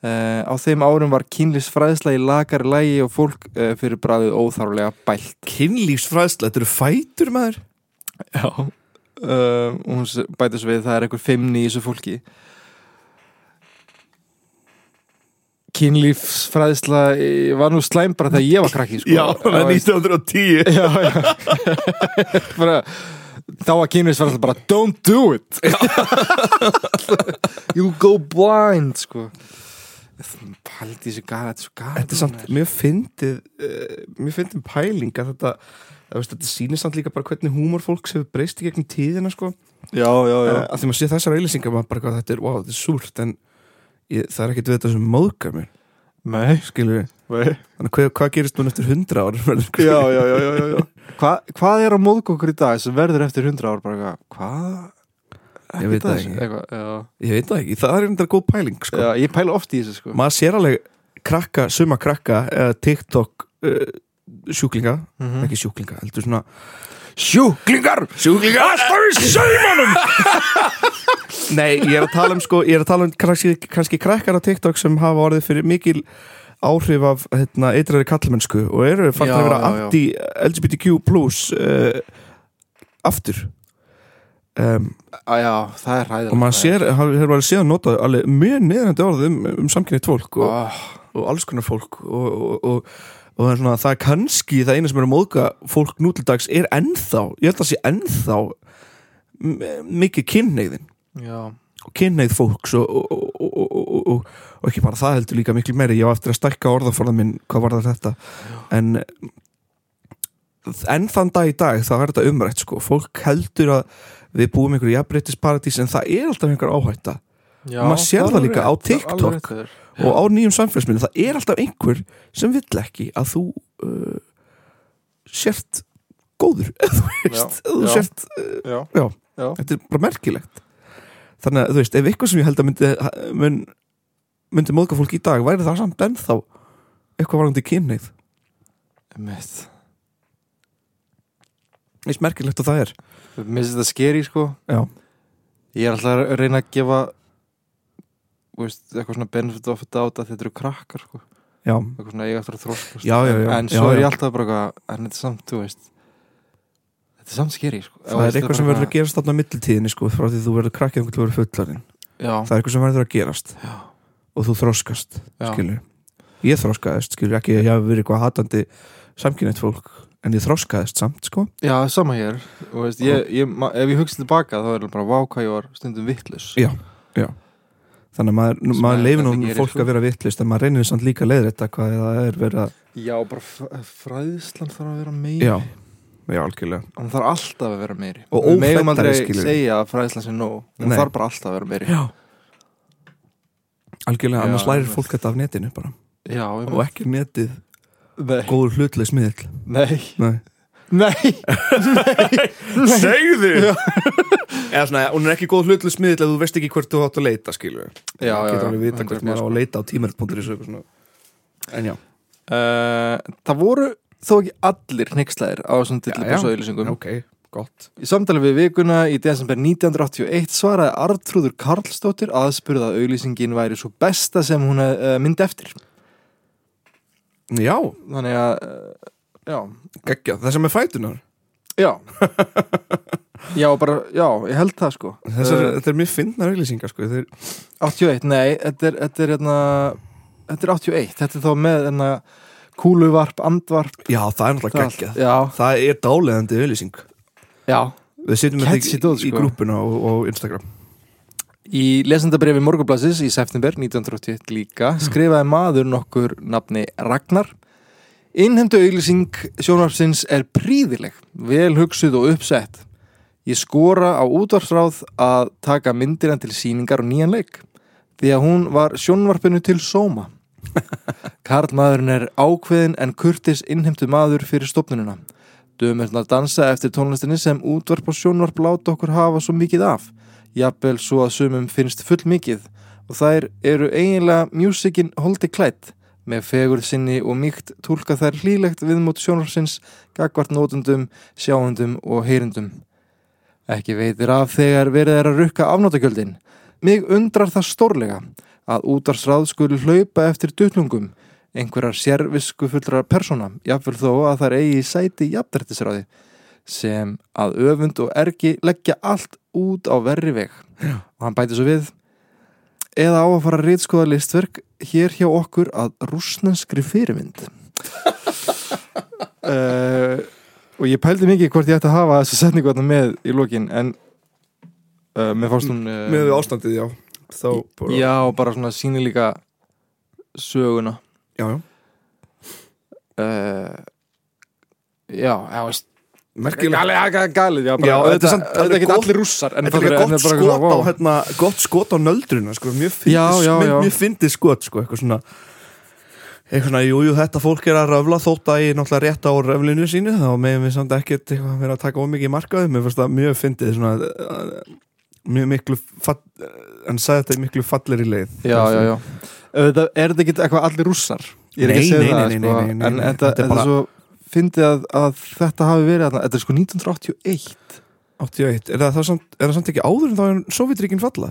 Speaker 2: Eh, á þeim árum var kynlisfræðsla í lagari lægi og fólk uh, fyrir bræðið óþárlega bælt
Speaker 1: kynlífsfræðsla, þetta eru fætur maður
Speaker 2: Já uh, Hún s- bætir svo við það er einhver feimni í þessu fólki Kynlífsfræðsla eh, var nú slæm bara þegar ég var krakki sko.
Speaker 1: það er 1910
Speaker 2: já, já. bara, Þá var kynlífsfræðsla bara Don't do it You go blind sko. Paldi þessu gara Þetta er svo gara
Speaker 1: Þetta er samt, mér fyndið uh, Mér fyndið pæling að þetta það veist, Þetta sýnir samt líka bara hvernig húmor fólks hefur breyst í gegnum tíðina sko
Speaker 2: Já, já, já
Speaker 1: uh, Að því maður sé þessar auðlýsingar maður bara hvað þetta er, wow, þetta er súrt en ég, það er ekkert við þetta sem móðgar mér
Speaker 2: Nei,
Speaker 1: skilur
Speaker 2: nei
Speaker 1: Þannig hvað, hvað gerist núna eftir hundra ára
Speaker 2: Já, já, já, já, já, já. Hva, Hvað er á móðg okkur í dag sem verður eftir 100 ár bara eitthvað, hvað
Speaker 1: Ég veit
Speaker 2: Ekkert
Speaker 1: það
Speaker 2: að þessu,
Speaker 1: ekki.
Speaker 2: eitthvað, já.
Speaker 1: Ég veit það ekki, það er einhvern góð pæling sko.
Speaker 2: já, ég pæla oft í þessu sko
Speaker 1: Maður sér alveg krakka, suma krakka eða TikTok uh, sjúklinga, ekki sjúklinga heldur svona
Speaker 2: Mhm. Sjúklingar!
Speaker 1: Sjúklinga alltaf í saumanum Nei, ég er að tala um sko, ég er að tala um kannski, kannski krakkar á TikTok sem hafa orðið fyrir mikil áhrif af hérna, eitrari kallmennsku og eru farin
Speaker 2: Já,
Speaker 1: að vera
Speaker 2: já, já.
Speaker 1: anti-LGBTQ plus uh, aftur um,
Speaker 2: Á, já, það er ræðilegt
Speaker 1: og maður sér, hefur verið séð að nota alveg mjög neðrandi orðum um samkynni fólk og,
Speaker 2: oh,
Speaker 1: og alls konar fólk og, og, og, og það er svona það er kannski það eina sem er að móðga fólk nú til dags er ennþá, ég held að sé ennþá m- mikið kynneigðin
Speaker 2: Já,
Speaker 1: og kynneigð fólks og, og, og, og, og, og, og ekki bara það heldur líka miklu meiri ég á eftir að stækka orðaforðan minn hvað var það þetta en enn þann dag í dag þá er þetta umrætt sko fólk heldur að við búum einhverju jafnbreytisparadís en það er alltaf einhver áhætta
Speaker 2: já
Speaker 1: Maður sér það
Speaker 2: er
Speaker 1: líka á
Speaker 2: rétt, það er alveg
Speaker 1: TikTok.
Speaker 2: rétt hjá þér.
Speaker 1: og á nýjum samfélagsmiðlum það er alltaf einhver sem vill ekki að þú uh, sért góður eða þú veist,
Speaker 2: Já,
Speaker 1: eða þú
Speaker 2: já.
Speaker 1: sért uh,
Speaker 2: Já,
Speaker 1: já,
Speaker 2: já,
Speaker 1: þetta er bara merkilegt þannig að þú veist, ef eitthvað sem ég held að myndi mun, myndi móðga fólk í dag væri það samt ennþá eitthvað varandi kynneið
Speaker 2: mitt
Speaker 1: eins merkilegt að það er
Speaker 2: Mér finnst þetta skeri sko
Speaker 1: já,
Speaker 2: Ég er alltaf að reyna að gefa þú veist, eitthvað svona benefit of a doubt að þetta eru krakkar sko
Speaker 1: já,
Speaker 2: eitthvað svona eiga eftir að þróskast
Speaker 1: Já, já, já.
Speaker 2: en svo
Speaker 1: Já,
Speaker 2: er ég
Speaker 1: já.
Speaker 2: alltaf bara eitthvað, en þetta er samt, þú veist þetta er samt skeri sko.
Speaker 1: það er eitthvað sem verður að gerast þarna á mittiltíðinni sko, frá því þú verður krakkið og þú verður fullarinn
Speaker 2: já,
Speaker 1: það er eitthvað sem verður að gerast
Speaker 2: Já.
Speaker 1: og þú þroskast
Speaker 2: já,
Speaker 1: skilur ég þroskaðist, skilur ekki að ég hafi verið eitthvað hatandi samkynnet fólk en ég þroskaðist samt, sko
Speaker 2: já, sama hér Þú veist, ég, ég, ma- ef ég hugsa tilbaka þá er það bara vá hvað ég var stundum vittlus
Speaker 1: Já. þannig að maður,
Speaker 2: Sem
Speaker 1: maður
Speaker 2: að
Speaker 1: leifir nú
Speaker 2: þetta gerir,
Speaker 1: fólk
Speaker 2: sko.
Speaker 1: að vera vittlist en maður reynir samt líka að leiðir þetta hvað það er verið að
Speaker 2: já, bara fr- fræðslan þarf að vera meiri
Speaker 1: já, já, algjörlega
Speaker 2: hann þarf alltaf að vera meiri
Speaker 1: Og
Speaker 2: Við megum
Speaker 1: ófræddari,
Speaker 2: aldrei
Speaker 1: skilur.
Speaker 2: segja að fræðslan sé nóg hún
Speaker 1: Nei.
Speaker 2: þarf bara alltaf að vera meiri
Speaker 1: já. algjörlega,
Speaker 2: Já,
Speaker 1: annars lærir
Speaker 2: einmitt.
Speaker 1: fólk þetta af netinu bara
Speaker 2: já, ég
Speaker 1: og ekki er netið
Speaker 2: nei,
Speaker 1: góður hlutleis miðl
Speaker 2: nei,
Speaker 1: Nei.
Speaker 2: nei, nei.
Speaker 1: segðu eða svona, hún er ekki góð hlutleis miðl ef þú veist ekki hvert þú átt að leita, skilur
Speaker 2: Já, já, já,
Speaker 1: getur alveg vita
Speaker 2: 100%,
Speaker 1: hvert maður á að leita á tímert.is og eitthvað svona. sko. en já
Speaker 2: Uh, það voru þó ekki allir hnyggslæðir á þessum dillibús og auðlýsingum.
Speaker 1: ok, gott
Speaker 2: Í samtali við vikuna í desember 1981 svaraði Artrúður Karlsdóttir aðspurð að auðlýsingin væri svo besta sem hún uh, myndi eftir.
Speaker 1: já,
Speaker 2: Þannig að, uh, já,
Speaker 1: geggja, það sem er fætunar
Speaker 2: já, já, bara, já, ég held það sko.
Speaker 1: Þessar,
Speaker 2: uh,
Speaker 1: Eh, þetta er mjög fyndnar auglýsingar sko. Þeir,
Speaker 2: 81, nei, þetta er, þetta er, hérna, þetta er 81, þetta er þá með, hérna, kúluvarp, andvarp.
Speaker 1: já, það er náttúrulega
Speaker 2: það
Speaker 1: geggjað
Speaker 2: allt. Já,
Speaker 1: það er dálæðandi auglýsing
Speaker 2: já.
Speaker 1: við setjum
Speaker 2: Catchy
Speaker 1: þetta í,
Speaker 2: dót,
Speaker 1: í
Speaker 2: sko.
Speaker 1: grúppuna og, og Instagram
Speaker 2: Í lesendabrifi Morgunblasins í september 1981 líka skrifaði maður nokkur nafni Ragnar. Innhemdu auglýsing sjónvarpsins er príðileg, vel hugsuð og uppsett. Ég skora á útvarsráð að taka myndina til síningar og nýjan leik því að hún var sjónvarpinu til sóma. Karl maðurinn er ákveðin en kurtis innhemdu maður fyrir stopnununa. Dömurnar dansa eftir tónlistinni sem útvarp og sjónvarp láta okkur hafa svo mikið af. Jafnvel svo að sumum finnst full mikið og þær eru eiginlega mjúsikin holdi klætt. Með fegurð sinni og mýkt tólka þær hlýlegt viðmót sjónvarsins, gagvart nótundum, sjáundum og heyrundum. Ekki veitir af þegar verið er að rukka afnótagjöldin. Mig undrar það stórlega að útarsráð skuli hlaupa eftir duttlungum, einhverjar sérvisku fullra persóna, jafnvel þó að þær eigi sæti í jafnrættisráði, sem að öfund og ergi leggja allt út á verri veg. Já. Og hann bæti svo við, eða á að fara að rýtskoða listverk hér hjá okkur að rúsnenskri fyrirmynd. uh, og ég pældi mikið hvort ég ætti að hafa þessu setningu þarna með í lokin, en uh, mér fannst hún... Uh,
Speaker 1: með ástandið, já þá bara, Eh, já,
Speaker 2: Já, bara svona sýnir líka söguna
Speaker 1: já,
Speaker 2: uh, Já, já veist
Speaker 1: merkilega
Speaker 2: Galið, ja, galið, já,
Speaker 1: Já,
Speaker 2: bara, auðvitað-
Speaker 1: þetta er samt
Speaker 2: auðvitað
Speaker 1: alveg
Speaker 2: ekki
Speaker 1: gott-
Speaker 2: allir rússar en
Speaker 1: Þetta er
Speaker 2: bara-
Speaker 1: líka
Speaker 2: en
Speaker 1: gott
Speaker 2: bara
Speaker 1: skot,
Speaker 2: eitthvað svona,
Speaker 1: á,
Speaker 2: vá.
Speaker 1: hérna, gott skot á nöldruna sko, mjög
Speaker 2: Já, já, já.
Speaker 1: fyndið skot sko, eitthvað svona eitthvað svona, jú, jú, þetta fólk er að röfla þótt að ég náttúrulega rétt á röflinu sínu þá meðum við samt ekkert eitthvað vera að taka ómikið markaði, mér finnst það mjög fyndið svona, eh, mjög miklu fall, hann sagði þetta í miklu fallir í leið
Speaker 2: já, já, já Auðvitað, er þetta ekki eitthvað allir rússar ég er
Speaker 1: Nei,
Speaker 2: ekki að
Speaker 1: nei,
Speaker 2: segja það
Speaker 1: nei,
Speaker 2: sko,
Speaker 1: nei, nei, nei,
Speaker 2: en
Speaker 1: nei,
Speaker 2: þetta,
Speaker 1: þetta er
Speaker 2: þetta
Speaker 1: bara-
Speaker 2: er svo fyndið að, að þetta hafi verið þarna. þetta er sko 1981
Speaker 1: 81, er það, það samt, er það samt ekki áður en þá er Sovjetríkin falla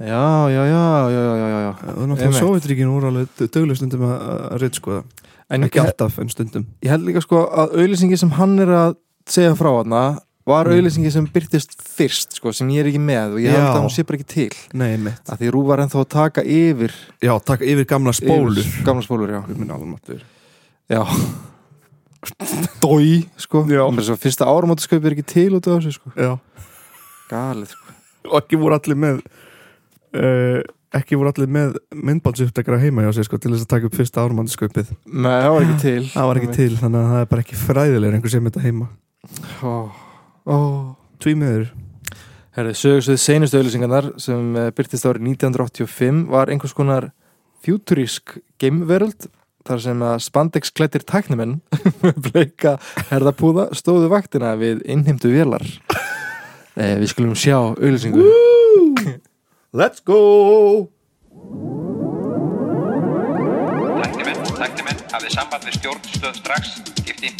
Speaker 2: já, já, já, já, já, já, já.
Speaker 1: og náttúrulega
Speaker 2: Einmitt.
Speaker 1: Sovjetríkin voru alveg döguleg stundum að, að reynd sko
Speaker 2: en
Speaker 1: ekki
Speaker 2: ég,
Speaker 1: alltaf en stundum
Speaker 2: ég held líka sko að auðlýsingi sem hann er að segja frá hana var
Speaker 1: Mm.
Speaker 2: auðlýsingi sem byrtist fyrst sko, sem ég er ekki með og ég
Speaker 1: Já.
Speaker 2: held að hún sé bara ekki til
Speaker 1: Nei, mitt
Speaker 2: að því Rú var ennþá að taka yfir
Speaker 1: Já, takk yfir gamla spólur
Speaker 2: yfir, gamla spólur, já
Speaker 1: Minn almatur
Speaker 2: Já Dói, sko
Speaker 1: Já.
Speaker 2: Mér svo fyrsta áramótaskaup er ekki til út af þessu, sko
Speaker 1: Já
Speaker 2: Galið, sko
Speaker 1: Og ekki voru allir með uh, Ekki voru allir með myndbandsupptakara heima hjá sér sko Til þess að taka upp fyrsta ármannskaupið
Speaker 2: Nei, það var ekki til
Speaker 1: Það var ekki til, þannig að það er bara ekki fræðilegur Einhver sem þetta heima
Speaker 2: Ó, ó
Speaker 1: Tvímiður
Speaker 2: Herðu, sögursvið seinustu auðlýsingarnar sem eh, byrtist árið 1985 var einhvers konar futurísk geimveröld þar sem að spandex klættir tæknimenn með bleika herðapúða stóðu vaktina við innheimtu vélar eh, Við skulum sjá auðlýsingu
Speaker 1: Let's go
Speaker 8: Tæknimenn, tæknimenn, hafið samband við stjórnstöð strax, skipti.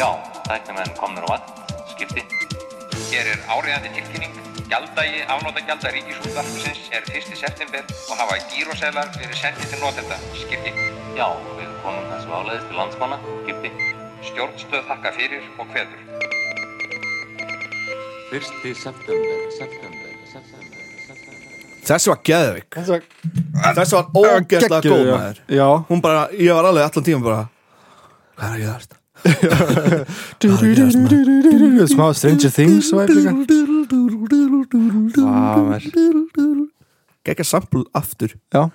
Speaker 8: Já, tæknimenn komnir á vatn, skipti. Hér er áriðandi tilkynning. Gjaldagi, afnóta gjalda ríkisútvarpsins er 1. september og hafa gíroselar verið sendið til notenda, skipti. Já, við komum þessu áleiðis til landsmanna, skipti. Stjórnstöð þakka fyrir og hvetur.
Speaker 9: Fyrsti september, september, september, september.
Speaker 1: Þessi var geðvik
Speaker 2: Þessi var
Speaker 1: Þessi var ógeðlega
Speaker 2: Geggjuð,
Speaker 1: góð
Speaker 2: já.
Speaker 1: maður
Speaker 2: Já,
Speaker 1: Hún bara, ég var alveg allan tíma bara Hvað er að gera þetta?
Speaker 2: smá Stranger Things væri líka Vá,
Speaker 1: Gekka sampl aftur
Speaker 2: Já,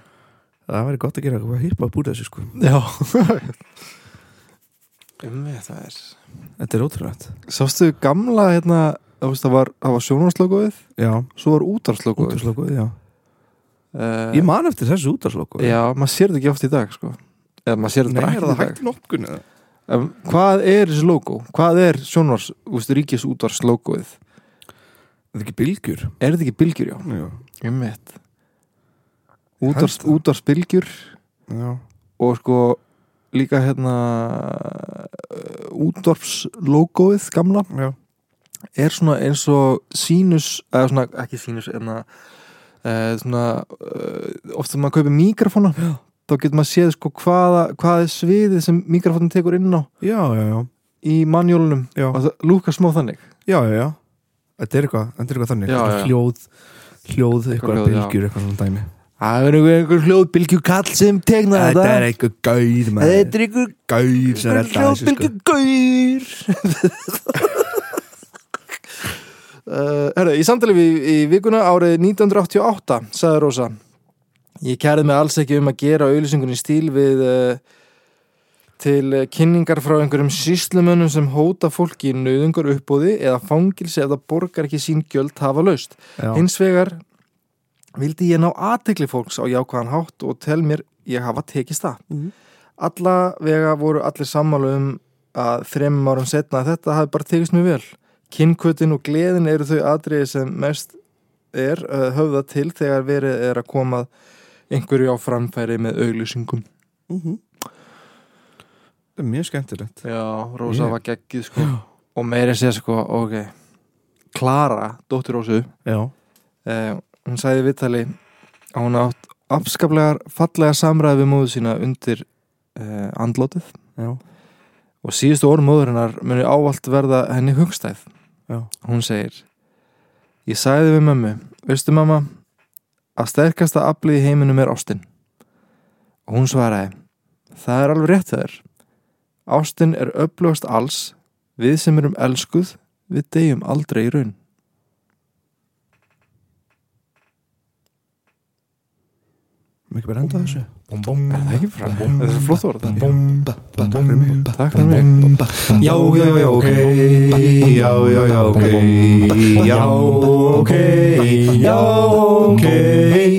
Speaker 1: Það væri gott að gera eitthvað hýrpa að búta þessu sko
Speaker 2: já Um þetta er
Speaker 1: Þetta er ótrúrætt
Speaker 2: Sástu gamla hérna þú veist, Það var, það var sjónarslókuðið
Speaker 1: Já,
Speaker 2: Svo var útarslókuðið
Speaker 1: útarslókuð, já
Speaker 2: uh,
Speaker 1: Ég man eftir þessu útarslóku
Speaker 2: Já, maður sér þetta ekki oft í dag sko. Eða maður sér
Speaker 1: Nei,
Speaker 2: þetta
Speaker 1: er
Speaker 2: bara
Speaker 1: það
Speaker 2: ekki í
Speaker 1: hægt
Speaker 2: dag
Speaker 1: notkun eða?
Speaker 2: um, Hvað er þessi logo? Hvað er sjónars, úst, ríkis útarslókuðið?
Speaker 1: Er það ekki bylgjur?
Speaker 2: Er þetta ekki bylgjur, já?
Speaker 1: Já,
Speaker 2: Um þetta
Speaker 1: Helst
Speaker 2: Útars,
Speaker 1: það.
Speaker 2: Útarsbylgjur
Speaker 1: já.
Speaker 2: og sko líka hérna útdorfslogoið gamla
Speaker 1: já.
Speaker 2: er svona eins og sínus eða svona ekki sínus enna Uh, svona, uh, oft þegar maður kaupir mikrofóna þá getur maður séð sko hvaða, hvað er sviðið sem mikrofónin tekur inn á
Speaker 1: Já, já, já,
Speaker 2: í manjólunum
Speaker 1: Já.
Speaker 2: og það lúkar smá þannig
Speaker 1: já, já, já Þetta er eitthvað, þetta er eitthvað þannig
Speaker 2: Já,
Speaker 1: Þetta er
Speaker 2: já.
Speaker 1: Hljóð, hljóð, eitthvað
Speaker 2: hljóð, já.
Speaker 1: bylgjur, eitthvað svona dæmi
Speaker 2: það er einhver, einhver hljóðbylgju kall sem tegna
Speaker 1: Þetta er eitthvað gauð, maður
Speaker 2: þetta er einhver
Speaker 1: gauð sem er alltaf þessu sko
Speaker 2: Hljóðbylgju gaur uh, Herra, í samtali við í vikuna árið 1988 sagði Rósa Ég kærið mig alls ekki um að gera auðlýsingunni stíl við uh, til eh, kynningar frá einhverjum síslumönnum sem hóta fólki í nöðungar uppbóði eða fangilsi ef það borgar ekki sín gjöld hafa laust
Speaker 1: Já,
Speaker 2: Hins vegar vildi ég ná aðtekli fólks á jákvæðan hátt og tel mér ég hafa tekist það.
Speaker 1: Mhm.
Speaker 2: Alla vega voru allir sammála um að þremmum árum setna að þetta hafi bara tekist mjög vel. Kinnkutin og gleðin eru þau atriði sem mest er uh, höfða til þegar verið er að komað einhverju á framfæri með auglýsingum.
Speaker 1: þetta er mjög skemmtilegt
Speaker 2: Já, Rósa
Speaker 1: Ég-
Speaker 2: var geggið sko. Og meira sér sko, ok, Klara, dóttir Rósu,
Speaker 1: Já,
Speaker 2: Eh, hún sagði í viðtali að hún átt afskaplegar fallega samræði við móðu sína undir eh, andlótið
Speaker 1: já,
Speaker 2: og síðustu orð móðurinnar muni ávallt verða henni hugstæð
Speaker 1: já
Speaker 2: hún segir ég sagði við mömmu, veistu mamma að sterkasta aflið í heiminum er ástin og hún svaraði það er alveg rétt þegar ástin er öflugast alls við sem erum elskuð við deyjum aldrei í raun
Speaker 10: mikið bara enda þessu
Speaker 2: Er það ekki frá? Þetta er svo flott orð
Speaker 10: Takk fyrir mig
Speaker 2: Takk fyrir mig
Speaker 10: Já, já, já, ok Já, já, já, ok Já, ok Já, ok